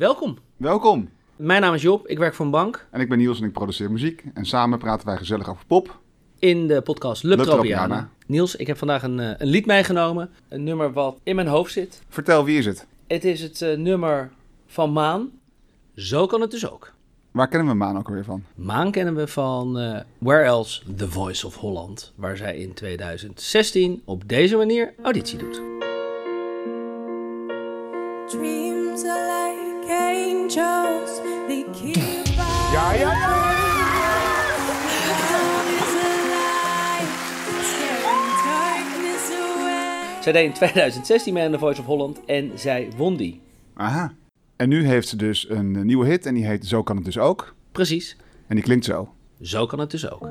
Welkom. Welkom. Mijn naam is Job, ik werk voor een bank En ik ben Niels en ik produceer muziek. En samen praten wij gezellig over pop. in de podcast Lub Lub Tropiana. Tropiana. Niels, ik heb vandaag een, eh, een lied meegenomen. Een nummer wat in mijn hoofd zit. Vertel, wie is het? Het is het eh, nummer van Maan. Zo kan het dus ook. Waar kennen we Maan ook alweer van? Maan kennen we van eh, Where Else The Voice of Holland, waar zij in 2016 op deze manier auditie doet. Dreams are like angels, they keep us Ja, ja, ja! alive, scaring darkness away. Zij deed in 2016 mee aan The Voice of Holland en zij won die. Aha. En nu heeft ze dus een eh, nieuwe hit en die heet Zo kan het dus ook. Precies, En die klinkt zo. zo kan het dus ook.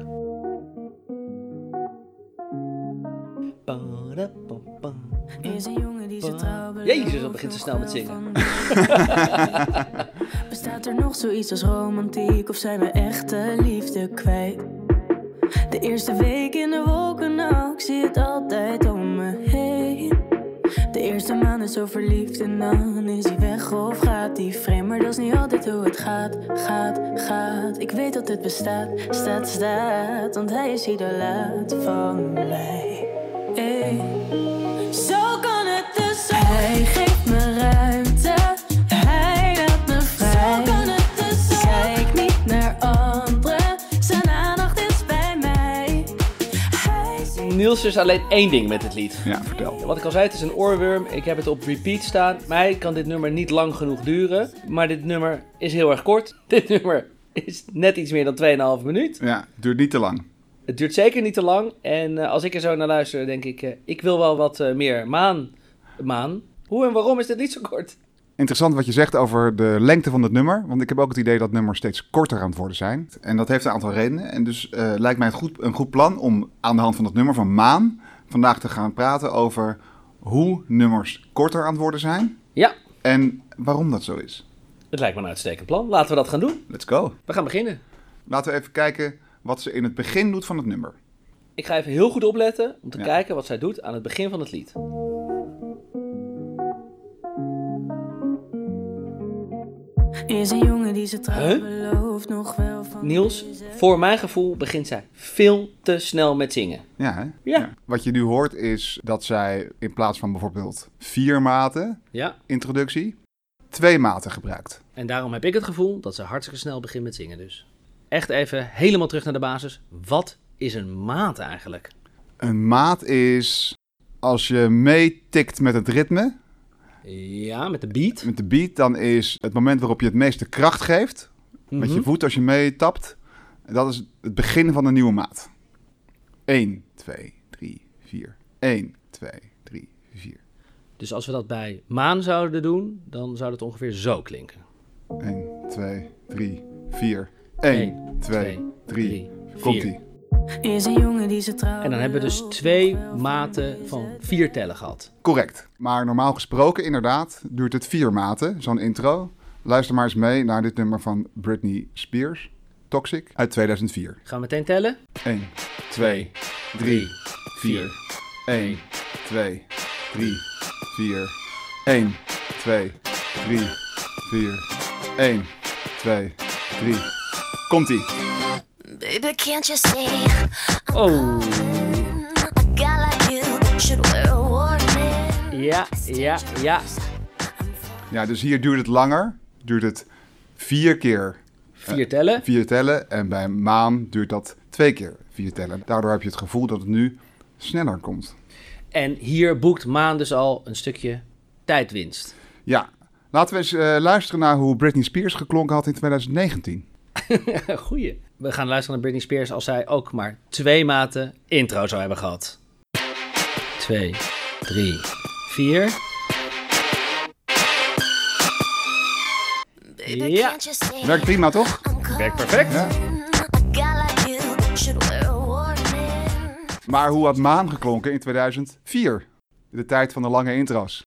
Er is een jongen die ze trouw belooft, Jezus, dat begint ze snel met zingen. nog wel van die. Bestaat er nog zoiets als romantiek of zijn we echte liefde kwijt? De eerste week in de wolken, nou, ik zie het altijd om me heen. De eerste maand is zo verliefd en dan is hij weg of gaat hij vreemd. Maar dat is niet altijd hoe het gaat, gaat, gaat. Ik weet dat het bestaat, staat, staat, want hij is idolaat van mij. Hey. Zo kan het dus ook. Hij geeft me ruimte, hij laat me vrij. Zo kan het dus ook. Kijk niet naar anderen, zijn aandacht is bij mij. Hij ziet Niels is alleen één ding met het lied. Ja, vertel. Wat ik al zei, het is een oorworm. Ik heb het op repeat staan. Mij kan dit nummer niet lang genoeg duren. Maar dit nummer is heel erg kort. Dit nummer is net iets meer dan 2,5 minuut. Ja, het duurt niet te lang. Het duurt zeker niet te lang. En eh, als ik er zo naar luister, denk ik... eh, ik wil wel wat eh, meer maan. Maan? Hoe en waarom is dit lied zo kort? Interessant wat je zegt over de lengte van het nummer. Want ik heb ook het idee dat nummers steeds korter aan het worden zijn. En dat heeft een aantal redenen. En dus eh, lijkt mij het goed, een goed plan om aan de hand van dat nummer van Maan... vandaag te gaan praten over hoe nummers korter aan het worden zijn... Ja, En waarom dat zo is. het lijkt me een uitstekend plan. Laten we dat gaan doen. Let's go. We gaan beginnen. Laten we even kijken wat ze in het begin doet van het nummer. Ik ga even heel goed opletten om te Ja. kijken wat zij doet aan het begin van het lied. Is een jongen die ze trouw Huh? belooft, nog wel van Niels, voor mijn gevoel begint zij veel te snel met zingen. Ja, hè? Ja. Wat je nu hoort is dat zij in plaats van bijvoorbeeld vier maten Ja, introductie, twee maten gebruikt. En daarom heb ik het gevoel dat ze hartstikke snel begint met zingen dus. Echt even helemaal terug naar de basis. Wat is een maat eigenlijk? Een maat is als je meetikt met het ritme, Ja, met de beat. met de beat, dan is het moment waarop je het meeste kracht geeft, met je voet als je meetapt, dat is het begin van een nieuwe maat. 1, 2, 3, 4. 1, 2, 3, 4. Dus als we dat bij maan zouden doen, dan zou dat ongeveer zo klinken. 1, 2, 3, 4. 1, 2, 3. Komt ie. Is een jongen die ze trouw En dan hebben we dus belooft, twee nog wel van maten van vier tellen gehad. Correct. Maar normaal gesproken, inderdaad, duurt het vier maten, zo'n intro. Luister maar eens mee naar dit nummer van Britney Spears, Toxic, uit 2004. Gaan we meteen tellen? 1, 2, 3, 4. 1, 2, 3, 4. 1, 2, 3, 4. 1, 2, 3. Komt ie. Baby, can't you see? Oh, A guy like you should wear a warning. ja, ja, ja. Ja, dus hier duurt het langer. Duurt het vier keer Vier tellen. vier tellen. En bij maan duurt dat twee keer vier tellen. Daardoor heb je het gevoel dat het nu sneller komt. En hier boekt maan dus al een stukje tijdwinst. Ja, laten we eens eh, luisteren naar hoe Britney Spears geklonken had in 2019. Goeie. We gaan luisteren naar Britney Spears als zij ook maar twee maten intro zou hebben gehad. Twee, drie, vier. Baby, Ja. can't you see? Werkt prima, toch? Werkt perfect. Ja. A guy like you should wear a warning. Maar hoe had maan geklonken in 2004? De tijd van de lange intro's.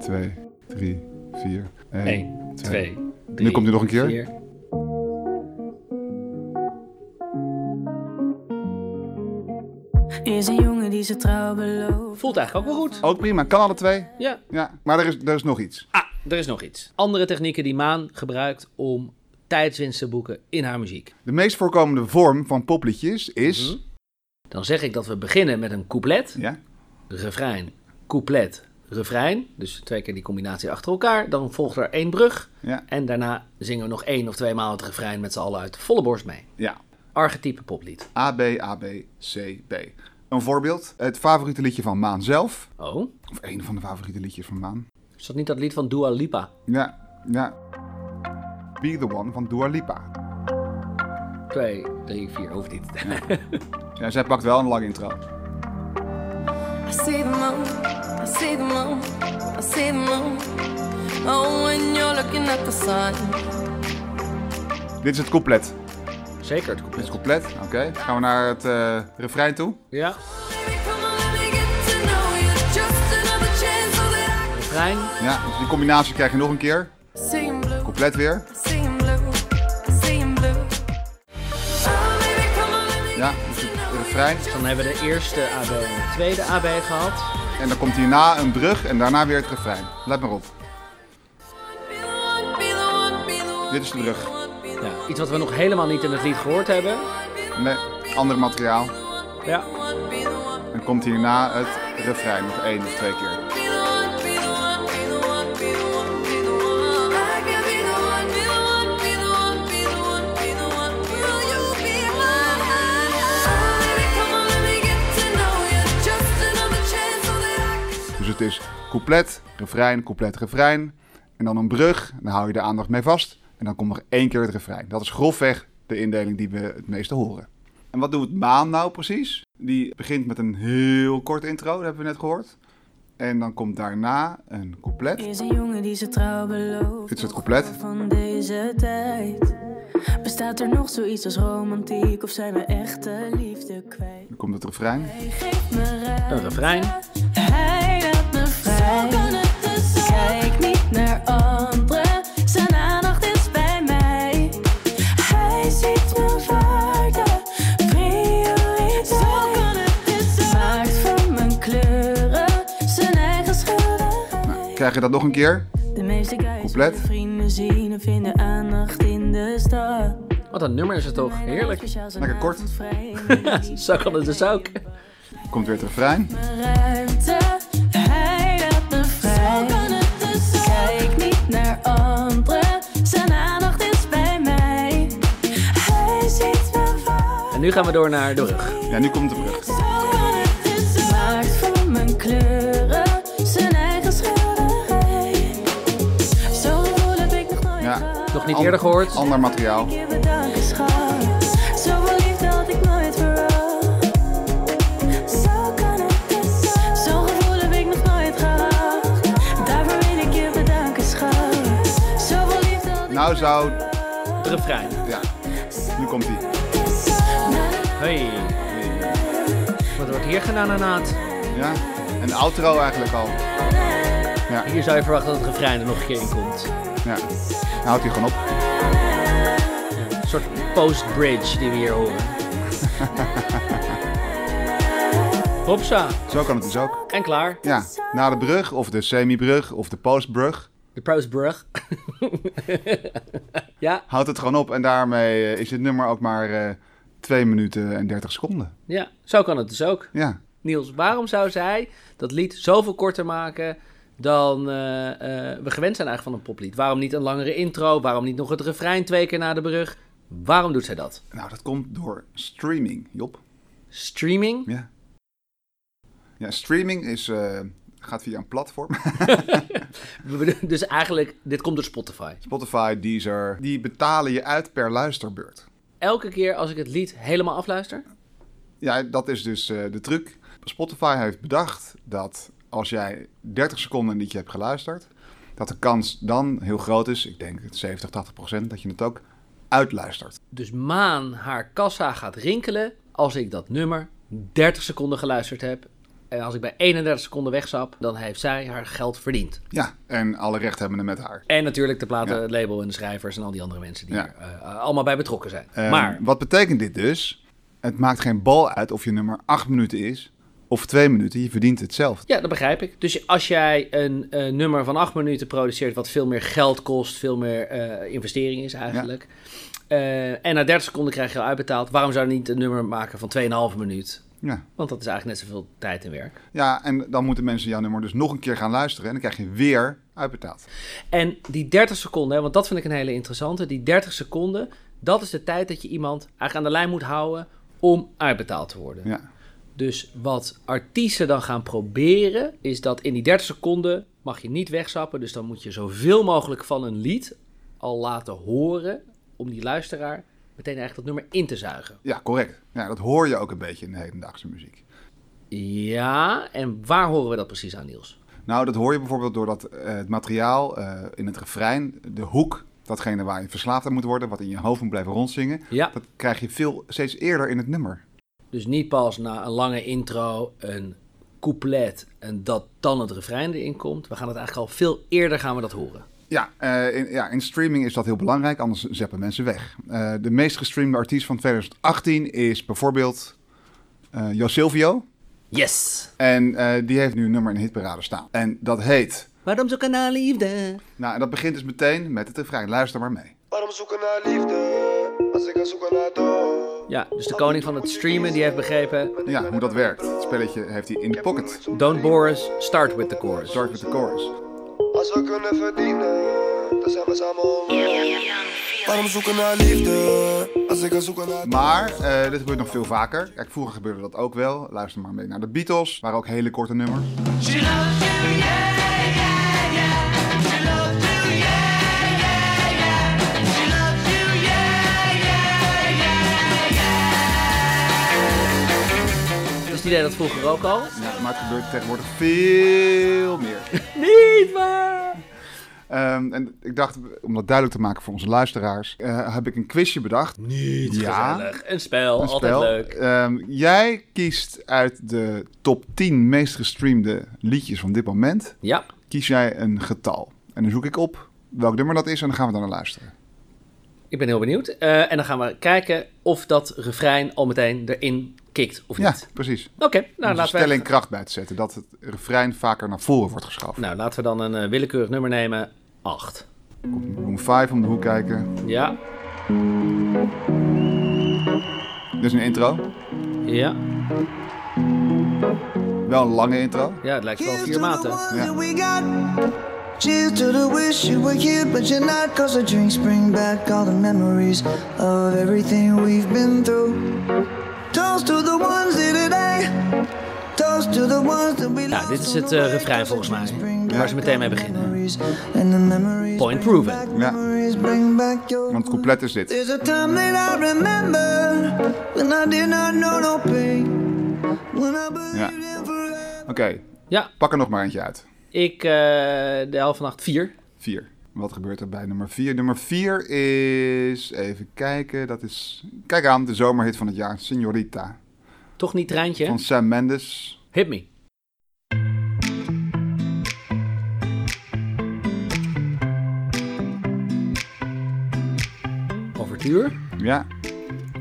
2, 3, 4, 1, Eén, 2. twee, drie, komt hij nog een keer. vier. Is een jongen die ze trouw belooft. Voelt eigenlijk ook wel goed. Ook prima, kan alle twee. Ja. Ja, maar er is, er is nog iets. Ah, Er is nog iets. Andere technieken die Maan gebruikt om tijdswinst te boeken in haar muziek. De meest voorkomende vorm van popliedjes is... Mhm. Dan zeg ik dat we beginnen met een couplet, Ja? refrein, couplet, refrein. Dus twee keer die combinatie achter elkaar. Dan volgt er één brug. Ja. En daarna zingen we nog één of twee maal het refrein met z'n allen uit de volle borst mee. Ja. Archetype poplied. A, B, A, B, C, B. Een voorbeeld. Het favoriete liedje van Maan zelf. Oh, Of een van de favoriete liedjes van Maan. is dat niet dat lied van Dua Lipa? Ja, ja. Be the One van Dua Lipa. Twee, drie, vier, hoeft niet. Ja, zij pakt wel een lange intro. I see the moon, I see the moon, I see the moon. Oh, when you're looking at the sun. Dit is het couplet. Zeker het Dit is couplet. het couplet. Oké. Gaan we naar het eh, refrein toe. Ja, refrein. Ja, dus die combinatie krijg je nog een keer. Seeing blue, Couplet weer. seeing blue, seeing blue. Oh, Ja, dus het refrein. Dan hebben we de eerste AB en de tweede AB gehad. En dan komt hierna een brug en daarna weer het refrein. Let maar op. Dit is de brug. Ja, iets wat we nog helemaal niet in het lied gehoord hebben. Nee, ander materiaal. Ja. En komt hierna het refrein nog één of twee keer. Dus het is couplet, refrein, couplet, refrein. En dan een brug, dan hou je de aandacht mee vast. En dan komt nog één keer het refrein. Dat is grofweg de indeling die we het meeste horen. En wat doet Maan nou precies? Die begint met een heel kort intro, dat hebben we net gehoord. En dan komt daarna een couplet. Is een jongen die ze trouw belooft. Dit is het couplet. Van deze tijd. Bestaat er nog zoiets als romantiek of zijn we echte liefde kwijt? Dan komt het refrein. Hij geeft me Een ruimte, refrein. hij laat me vrij. Zo kan het dus Kijk niet naar anderen, zijn aandacht is bij mij. Hij ziet mijn waarde, prioriteit. Zo kan het dus Maakt van mijn kleuren zijn eigen schilderij. Krijg je dat nog een keer? De meeste guys Couplet. willen vrienden zien en vinden aandacht in de stad. Wat een nummer is het toch? Heerlijk. Lekker kort. Zo kan het dus ook. Komt weer het refrein. Ruimte, hij laat me vrij. dus Kijk niet naar anderen, zijn aandacht is bij mij. Hij ziet me En vaak. nu gaan we door naar de brug. Ja, nu komt de brug. Zo kan het dus Maakt van mijn kleuren zijn eigen schilderij. Zo voel heb ik nog nooit Ja. gehad. Nog niet Ander- eerder gehoord. Ander materiaal. Je bedankt, schat. Zoveel liefde had ik nooit verwacht. Zo kan het dus zijn. Zo'n gevoel heb ik nog nooit gehad. Daarvoor wil ik je bedanken, schat. Zoveel liefde had ik Nou zou... Het refrein. Ja, nu komt die. Hey. Wat wordt hier gedaan aan Naad? Ja, een outro eigenlijk al. Ja, Hier zou je verwachten dat het refrein er nog een keer in komt. ja. Dan houdt hij gewoon op. Een soort post-bridge die we hier horen. Hopsa. Zo kan het dus ook. En klaar. Ja, na de brug of de semi-brug of de postbrug. De postbrug. ja, Houdt het gewoon op en daarmee eh, is het nummer ook maar eh 2 minuten en 30 seconden. ja, zo kan het dus ook. Ja, Niels, waarom zou zij dat lied zoveel korter maken dan eh, eh, we gewend zijn eigenlijk van een poplied? Waarom niet een langere intro? Waarom niet nog het refrein twee keer na de brug? Waarom doet zij dat? nou dat komt door streaming, Job. Streaming? Ja, ja streaming is, eh, gaat via een platform. We bedoelen- Dus eigenlijk, dit komt door Spotify. Spotify, Deezer, die betalen je uit per luisterbeurt. Elke keer als ik het lied helemaal afluister, Ja, dat is dus eh, de truc. Spotify heeft bedacht dat als jij 30 seconden een liedje hebt geluisterd, dat de kans dan heel groot is, ik denk 70, 80 procent, dat je het ook uitluistert. dus Maan haar kassa gaat rinkelen als ik dat nummer 30 seconden geluisterd heb. En als ik bij 31 seconden wegzap, dan heeft zij haar geld verdiend. Ja, en alle rechthebbenden met haar. En natuurlijk de platen, het label en de schrijvers en al die andere mensen die Ja. er eh, allemaal bij betrokken zijn. Ehm, maar Wat betekent dit dus? Het maakt geen bal uit of je nummer 8 minuten is of twee minuten. Je verdient hetzelfde. Ja, dat begrijp ik. Dus als jij een eh, nummer van acht minuten produceert, wat veel meer geld kost, veel meer eh, investering is eigenlijk. eh, en na 30 seconden krijg je al uitbetaald. Waarom zou je niet een nummer maken van 2,5 minuut? Ja. Want dat is eigenlijk net zoveel tijd en werk. ja, en dan moeten mensen jouw nummer dus nog een keer gaan luisteren. En dan krijg je weer uitbetaald. En die 30 seconden, hè, want dat vind ik een hele interessante. Die 30 seconden, dat is de tijd dat je iemand eigenlijk aan de lijn moet houden om uitbetaald te worden. Ja. Dus wat artiesten dan gaan proberen, is dat in die 30 seconden mag je niet wegzappen. Dus dan moet je zoveel mogelijk van een lied al laten horen om die luisteraar meteen eigenlijk dat nummer in te zuigen. ja, correct. Ja, dat hoor je ook een beetje in de hedendaagse muziek. Ja, en waar horen we dat precies aan, Niels? Nou, dat hoor je bijvoorbeeld doordat eh, het materiaal eh, in het refrein, de hoek, datgene waar je verslaafd aan moet worden, wat in je hoofd moet blijven rondzingen, Ja. dat krijg je veel steeds eerder in het nummer. Dus niet pas na een lange intro, een couplet en dat dan het refrein erin komt. We gaan het eigenlijk al veel eerder gaan we dat horen. Ja, eh, in, ja, in streaming is dat heel belangrijk, anders zeppen mensen weg. Eh, de meest gestreamde artiest van 2018 is bijvoorbeeld eh Jo Silvio. Yes! En eh, die heeft nu een nummer in de hitparade staan. En dat heet... Waarom zoek naar liefde? Nou, en dat begint dus meteen met het refrein. Luister maar mee. Waarom zoeken naar liefde als ik ga zoeken naar dood? Ja, dus de koning van het streamen die heeft begrepen... Ja, hoe dat werkt. Het spelletje heeft hij in de pocket. Don't bore us, start with the chorus. Start with the chorus. Als we kunnen verdienen, dan zijn we samen online. Waarom zoeken naar liefde als ik ga zoeken naar Maar eh, dit gebeurt nog veel vaker. Kijk, vroeger gebeurde dat ook wel. Luister maar mee naar de Beatles, waren ook hele korte nummers. Dus die deed dat vroeger ook al. Ja, maar het gebeurt tegenwoordig veel meer. Niet waar! Ehm, en ik dacht, om dat duidelijk te maken voor onze luisteraars, eh, heb ik een quizje bedacht. Niet Ja. gezellig. Een spel, Een altijd spel. leuk. Ehm, jij kiest uit de top 10 meest gestreamde liedjes van dit moment, Ja, kies jij een getal. En dan zoek ik op welk nummer dat is en dan gaan we daar naar luisteren. ik ben heel benieuwd. Eh, en dan gaan we kijken of dat refrein al meteen erin kikt of Ja, niet. precies. Oké, nou, Om er laten we, stelling kracht bij te zetten, dat het refrein vaker naar voren wordt geschoven. nou laten we dan een eh, willekeurig nummer nemen. 8. Room 5 om de hoek kijken. Ja, Dit is een intro. ja. Wel een lange intro. Ja, het lijkt wel vier maten. Ja. We got cheers to the wish you were here, but you're not. Cause the drinks bring back all the memories of everything we've been through. Toast to the ones here today. Toast to the ones that we Nou, lost dit is on het the eh, way. refrein volgens mij. Waar ze meteen mee beginnen. Memories and the memories Point bring proven. back Ja. memories, bring back your- Want het couplet is dit. There's a time that I remember when I did not know no pain. When I believed in forever. Oké, Ja, pak er nog maar eentje uit. ik eh, de helft van acht, vier. 4. Wat gebeurt er bij nummer 4? Nummer 4 is... Even kijken, dat is... Kijk aan, de zomerhit van het jaar. Señorita. Toch niet treintje? hè? Van Sam Mendes. Hit me. Overtuur. Ja.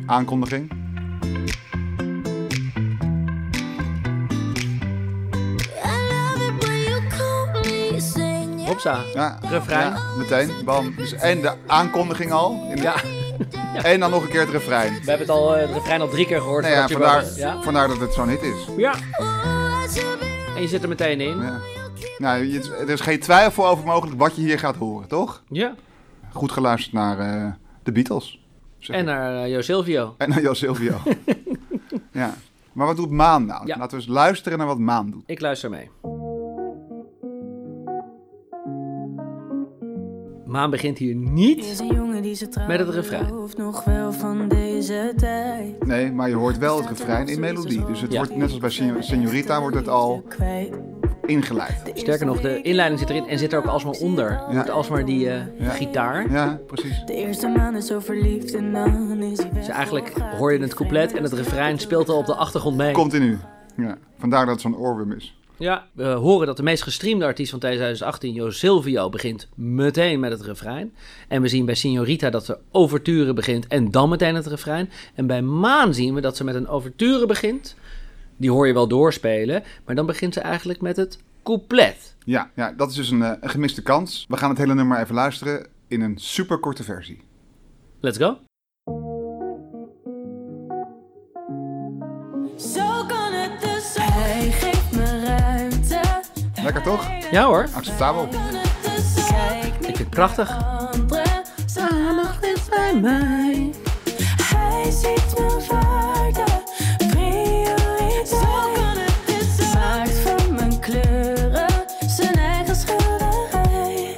Aankondiging. I love it when you call me singing. Hopsa. Ja. Refrein. Ja, meteen. Bam. Dus en de aankondiging al. In de- Ja. En dan nog een keer het refrein. We hebben het al eh, het refrein al drie keer gehoord. Nou ja, voordat je vandaar, boven- ja? vandaar dat het zo'n hit is. ja. Oh, I should be En je zit er meteen in. Ja. Nou, je- er is geen twijfel over mogelijk wat je hier gaat horen, toch? Ja. Goed geluisterd naar eh, de Beatles. zeg En ik. naar eh, Jo Silvio. En naar Jo Silvio. ja. Maar wat doet Maan nou? Ja. Laten we eens luisteren naar wat Maan doet. Ik luister mee. Maan begint hier Er niet. is een jongen die ze trouwt. Met het refrein. Hoeft nog wel van deze tijd. Nee, maar je hoort wel het refrein in melodie. Dus het Ja. wordt net als bij Sen- Senorita wordt het al ingeleid. Sterker nog, de inleiding zit erin en zit er ook alsmaar onder. Je hoort alsmaar die eh, Ja. gitaar. Ja, precies. De eerste maand is zo verliefd en dan is hij weg. Dus eigenlijk hoor je het couplet en het refrein speelt al op de achtergrond mee. Continu. Ja. Vandaar dat het zo'n oorworm is. Ja, we horen dat de meest gestreamde artiest van 2018, Jo Silvio, begint meteen met het refrein. En we zien bij Signorita dat ze overturen begint en dan meteen het refrein. En bij Maan zien we dat ze met een overturen begint, die hoor je wel doorspelen. Maar dan begint ze eigenlijk met het couplet. Ja, ja, dat is dus een, eh, een gemiste kans. We gaan het hele nummer even luisteren in een superkorte versie. Let's go. Zo kan het dus zijn. Hij geeft me ruimte. Lekker toch? Ja hoor, Acceptabel. Kan het dus zijn. Kijk ik niet vind het prachtig. anderen. Zalig is bij mij. Hij ziet mijn waarde. prioriteit. Zo kan het dus zijn. Maakt van mijn kleuren zijn eigen schilderij.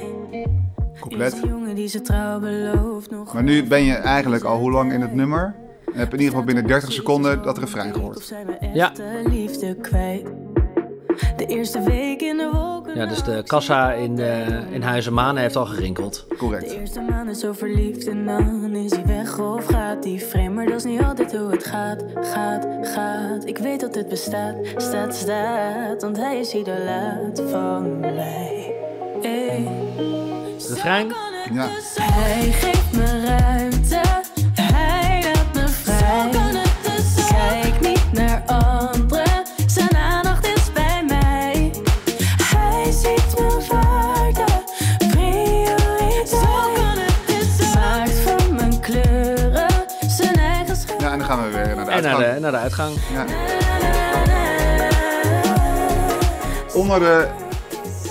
Couplet. Een jongen die ze trouw belooft nog. Maar nu ben je eigenlijk al hoe lang in het nummer? En heb in ieder geval binnen 30 seconden dat refrein Of gehoord. zij mijn Ja. echte liefde kwijt. De eerste week in de wolken. Ja, dus de kassa in, eh in Huizenmanen heeft al gerinkeld. De Correct. eerste maand is zo verliefd en dan is hij weg of gaat hij vreemd. Maar dat is niet altijd hoe het gaat, gaat, gaat. Ik weet dat het bestaat, staat, staat. Want hij is idolaat van mij. Hey. Refrein. Ja. Hij geeft me ruimte, hij laat me vrij. Kijk niet naar anderen, zijn aandacht is bij mij. Hij ziet mijn waarde, prioriteit. Maakt van mijn kleuren zijn eigen schijn. Ja, en dan gaan we weer naar de En naar uitgang. de, naar de uitgang. Onder de,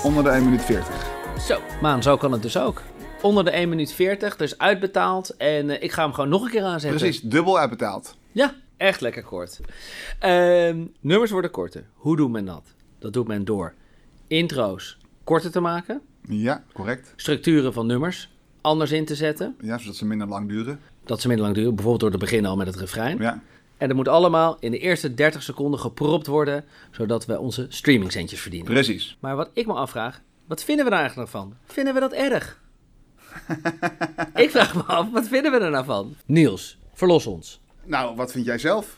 onder de 1 minuut 40. Zo, Maan, zo kan het dus ook. Onder de 1 minuut 40, dus uitbetaald. En eh, ik ga hem gewoon nog een keer aanzetten. Precies, dubbel uitbetaald. Ja, echt lekker kort. Ehm, nummers worden korter. Hoe doet men dat? Dat doet men door intro's korter te maken, Ja, correct. structuren van nummers anders in te zetten, Ja, zodat ze minder lang duren. dat ze minder lang duren, bijvoorbeeld door te beginnen al met het refrein. Ja, En dat moet allemaal in de eerste 30 seconden gepropt worden, zodat we onze streamingcentjes verdienen. precies. Maar wat ik me afvraag, wat vinden we daar eigenlijk nog van? Vinden we dat erg? ik vraag me af, wat vinden we er nou van? Niels, verlos ons. Nou, wat vind jij zelf?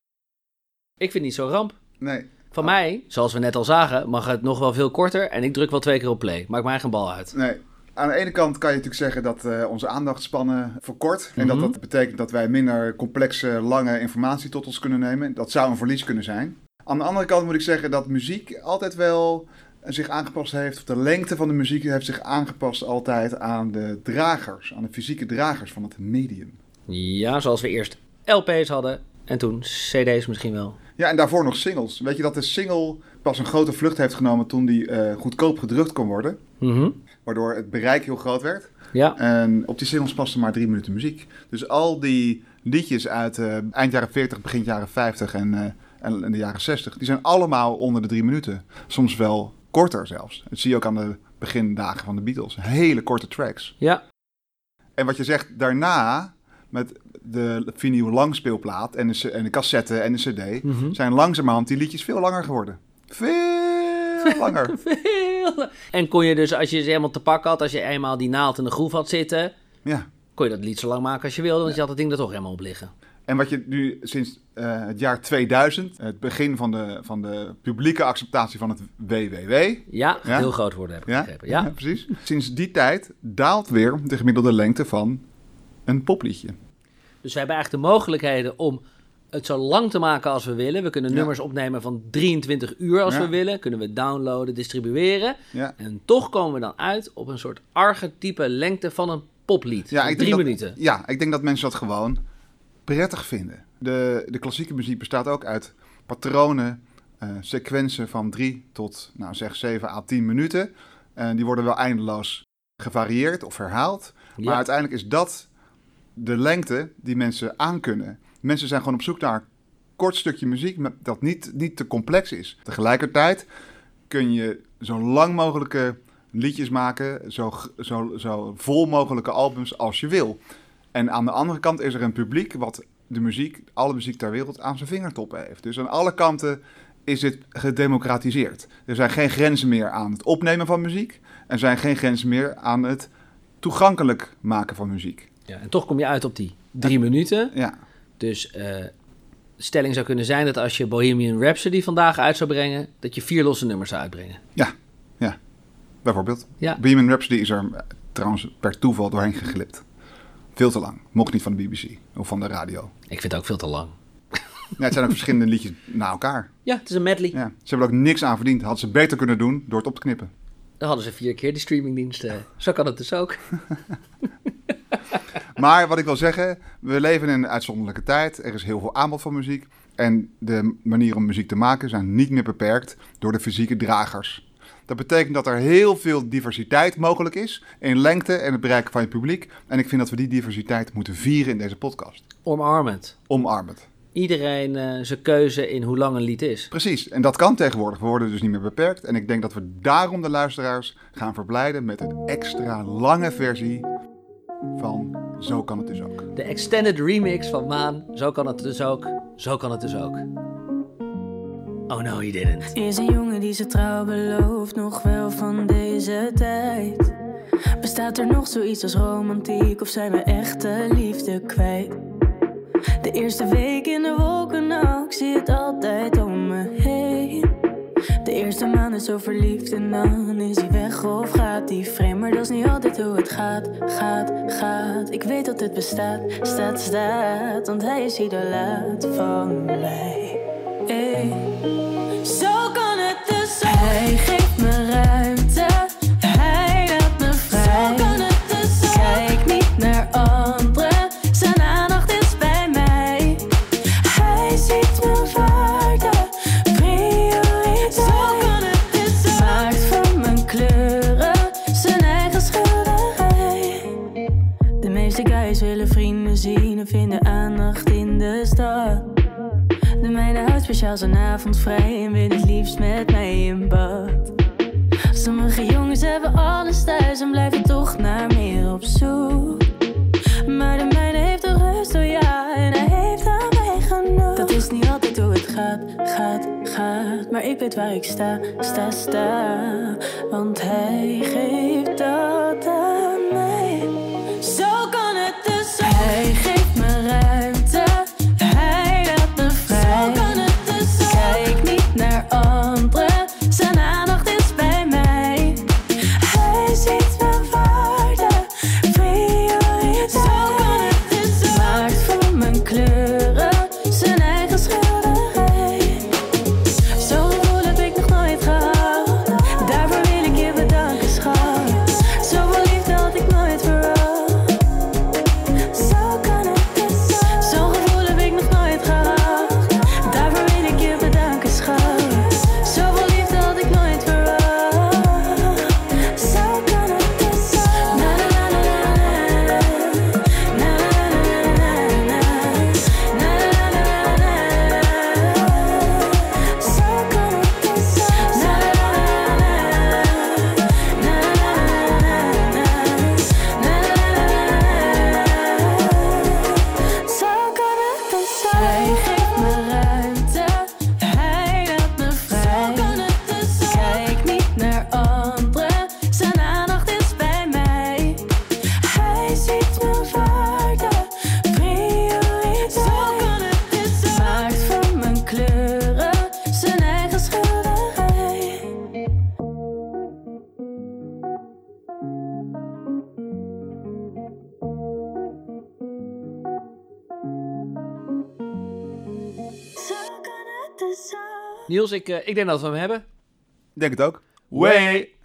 Ik vind het niet zo'n ramp. Nee. Van mij, Oh. zoals we net al zagen, mag het nog wel veel korter en ik druk wel twee keer op play. Maakt mij geen bal uit. Nee. Aan de ene kant kan je natuurlijk zeggen dat eh, onze aandachtspannen verkort. En dat dat betekent dat wij minder complexe, lange informatie tot ons kunnen nemen. Dat zou een verlies kunnen zijn. Aan de andere kant moet ik zeggen dat muziek altijd wel eh, zich aangepast heeft. Of de lengte van de muziek heeft zich aangepast altijd aan de dragers. Aan de fysieke dragers van het medium. Ja, zoals we eerst LP's hadden en toen CD's misschien wel. Ja, en daarvoor nog singles. Weet je dat de single pas een grote vlucht heeft genomen toen die eh, goedkoop gedrukt kon worden. Mhm. Eh. Waardoor het bereik heel groot werd. Ja, En op die singles paste maar drie minuten muziek. Dus al die liedjes uit eh, eind jaren 40, begin jaren 50 en, eh, en, en de jaren 60, die zijn allemaal onder de drie minuten. Soms wel korter zelfs. Dat zie je ook aan de begindagen van de Beatles. Hele korte tracks. ja, En wat je zegt daarna, met de vinyl langspeelplaat en de, c- en de cassette en de cd, zijn langzamerhand die liedjes veel langer geworden. Veel langer. veel. En kon je dus, als je ze helemaal te pak had, als je eenmaal die naald in de groef had zitten, Ja. kon je dat lied zo lang maken als je wilde, want je had het ding er toch helemaal op liggen. En wat je nu sinds eh, het jaar 2000, het begin van de, van de publieke acceptatie van het WWW. Ja, gaat Ja? heel groot worden, heb ik Ja? begrepen. Ja. precies. Sinds die tijd daalt weer de gemiddelde lengte van een popliedje. Dus we hebben eigenlijk de mogelijkheden om het zo lang te maken als we willen. We kunnen Ja. nummers opnemen van 23 uur als Ja. we willen. Kunnen we downloaden, distribueren. Ja. En toch komen we dan uit op een soort archetype lengte van een poplied. Van ik denk drie dat- minuten. Ja, ik denk dat mensen dat gewoon prettig vinden. De, de klassieke muziek bestaat ook uit patronen, eh, sequenzen van drie tot, nou zeg, 7 à 10 minuten. En die worden wel eindeloos gevarieerd of herhaald. Maar Ja. uiteindelijk is dat de lengte die mensen aankunnen. Mensen zijn gewoon op zoek naar een kort stukje muziek met- dat niet, niet te complex is. Tegelijkertijd kun je zo lang mogelijke liedjes maken, zo, g- zo, zo vol mogelijke albums als je wil. En aan de andere kant is er een publiek wat de muziek, alle muziek ter wereld, aan zijn vingertoppen heeft. Dus aan alle kanten is dit gedemocratiseerd. Er zijn geen grenzen meer aan het opnemen van muziek. Er zijn geen grenzen meer aan het toegankelijk maken van muziek. Ja, en toch kom je uit op die drie minuten. Ja, Dus eh, de stelling zou kunnen zijn dat als je Bohemian Rhapsody vandaag uit zou brengen, dat je vier losse nummers zou uitbrengen. ja, ja. Bijvoorbeeld. Ja. Bohemian Rhapsody is er eh, trouwens per toeval doorheen geglipt. Veel te lang. Mocht niet van de BBC of van de radio. Ik vind het ook veel te lang. Ja, het zijn ook verschillende liedjes na elkaar. Ja, het is een medley. Ja. Ze hebben er ook niks aan verdiend. Hadden ze beter kunnen doen door het op te knippen. Dan hadden ze vier keer die streamingdiensten. Zo kan het dus ook. Maar wat ik wil zeggen, we leven in een uitzonderlijke tijd. Er is heel veel aanbod van muziek. En de manieren om muziek te maken zijn niet meer beperkt door de fysieke dragers. Dat betekent dat er heel veel diversiteit mogelijk is in lengte en het bereiken van je publiek. En ik vind dat we die diversiteit moeten vieren in deze podcast. Omarmend. Omarmend. Iedereen eh, zijn keuze in hoe lang een lied is. Precies, en dat kan tegenwoordig. We worden dus niet meer beperkt. En ik denk dat we daarom de luisteraars gaan verblijden met een extra lange versie van Zo kan het dus ook. De extended remix van Maan. Zo kan het dus ook. Zo kan het dus ook. Oh no, he didn't. Is een jongen die zijn trouw belooft, nog wel van deze tijd. Bestaat er nog zoiets als romantiek of zijn we echte liefde kwijt? De eerste week in de wolken, nou, ik zie het altijd om me heen. De eerste maand is zo verliefd en dan is hij weg of gaat hij vreemd. Maar dat is niet altijd hoe het gaat, gaat, gaat. Ik weet dat het bestaat, staat, staat, want hij is idolaat van mij. Hey. Zo kan het dus ook. Hij geeft me ruimte. Hij laat me vrij. Zo kan het dus ook. Kijk niet naar anderen. Zijn aandacht is bij mij. Hij ziet mijn waarde. Prioriteit. Zo kan het dus ook. Maakt van mijn kleuren zijn eigen schilderij. De meeste guys willen vrienden zien en vinden aandacht in de stad. De mijne houdt speciaal zijn avond vrij en wil het liefst met mij in bad. Sommige jongens hebben alles thuis en blijven toch naar meer op zoek. Maar de mijne heeft toch rust, oh ja, en hij heeft aan mij genoeg. Dat is niet altijd hoe het gaat, gaat, gaat. Maar ik weet waar ik sta, sta, sta. Want hij geeft dat aan mij. Zo kan het dus ook. Hij geeft me ruimte, hij laat me vrij. Zo kan het dus ook. Kijk niet naar anderen, zijn aandacht is bij mij. Hij ziet mijn waarde, prioriteit. Zo kan het dus ook. Maakt van mijn kleuren zijn eigen schilderij. Zo'n gevoel heb ik nog nooit gehad. Daarvoor wil ik je bedanken, schat. Zoveel liefde had ik nooit verwacht. Zo kan het dus ook. Zo'n gevoel heb ik nog nooit gehad. Daarvoor wil ik je bedanken, schat. Zoveel liefde had ik nooit verwacht. Zo kan het dus ook. Na, na, na, na, na, na. Na, na, na, na, na, na. Na, na, na, na, na, na. Zo kan het dus ook. Na, na, na, na, na. Na, na, na, na, na. Na, na, na, na, na. Zo kan het dus ook. Hij geeft me ruimte, hij laat me vrij. Kijk niet naar anderen, zijn aandacht is bij mij. Hij ziet mijn waarde, prioriteit. Zo kan het dus ook. Maakt van mijn kleuren zijn eigen schilderij. Zo kan het dus ook. Niels, ik, eh, ik denk dat we hem hebben. Ik denk het ook. Way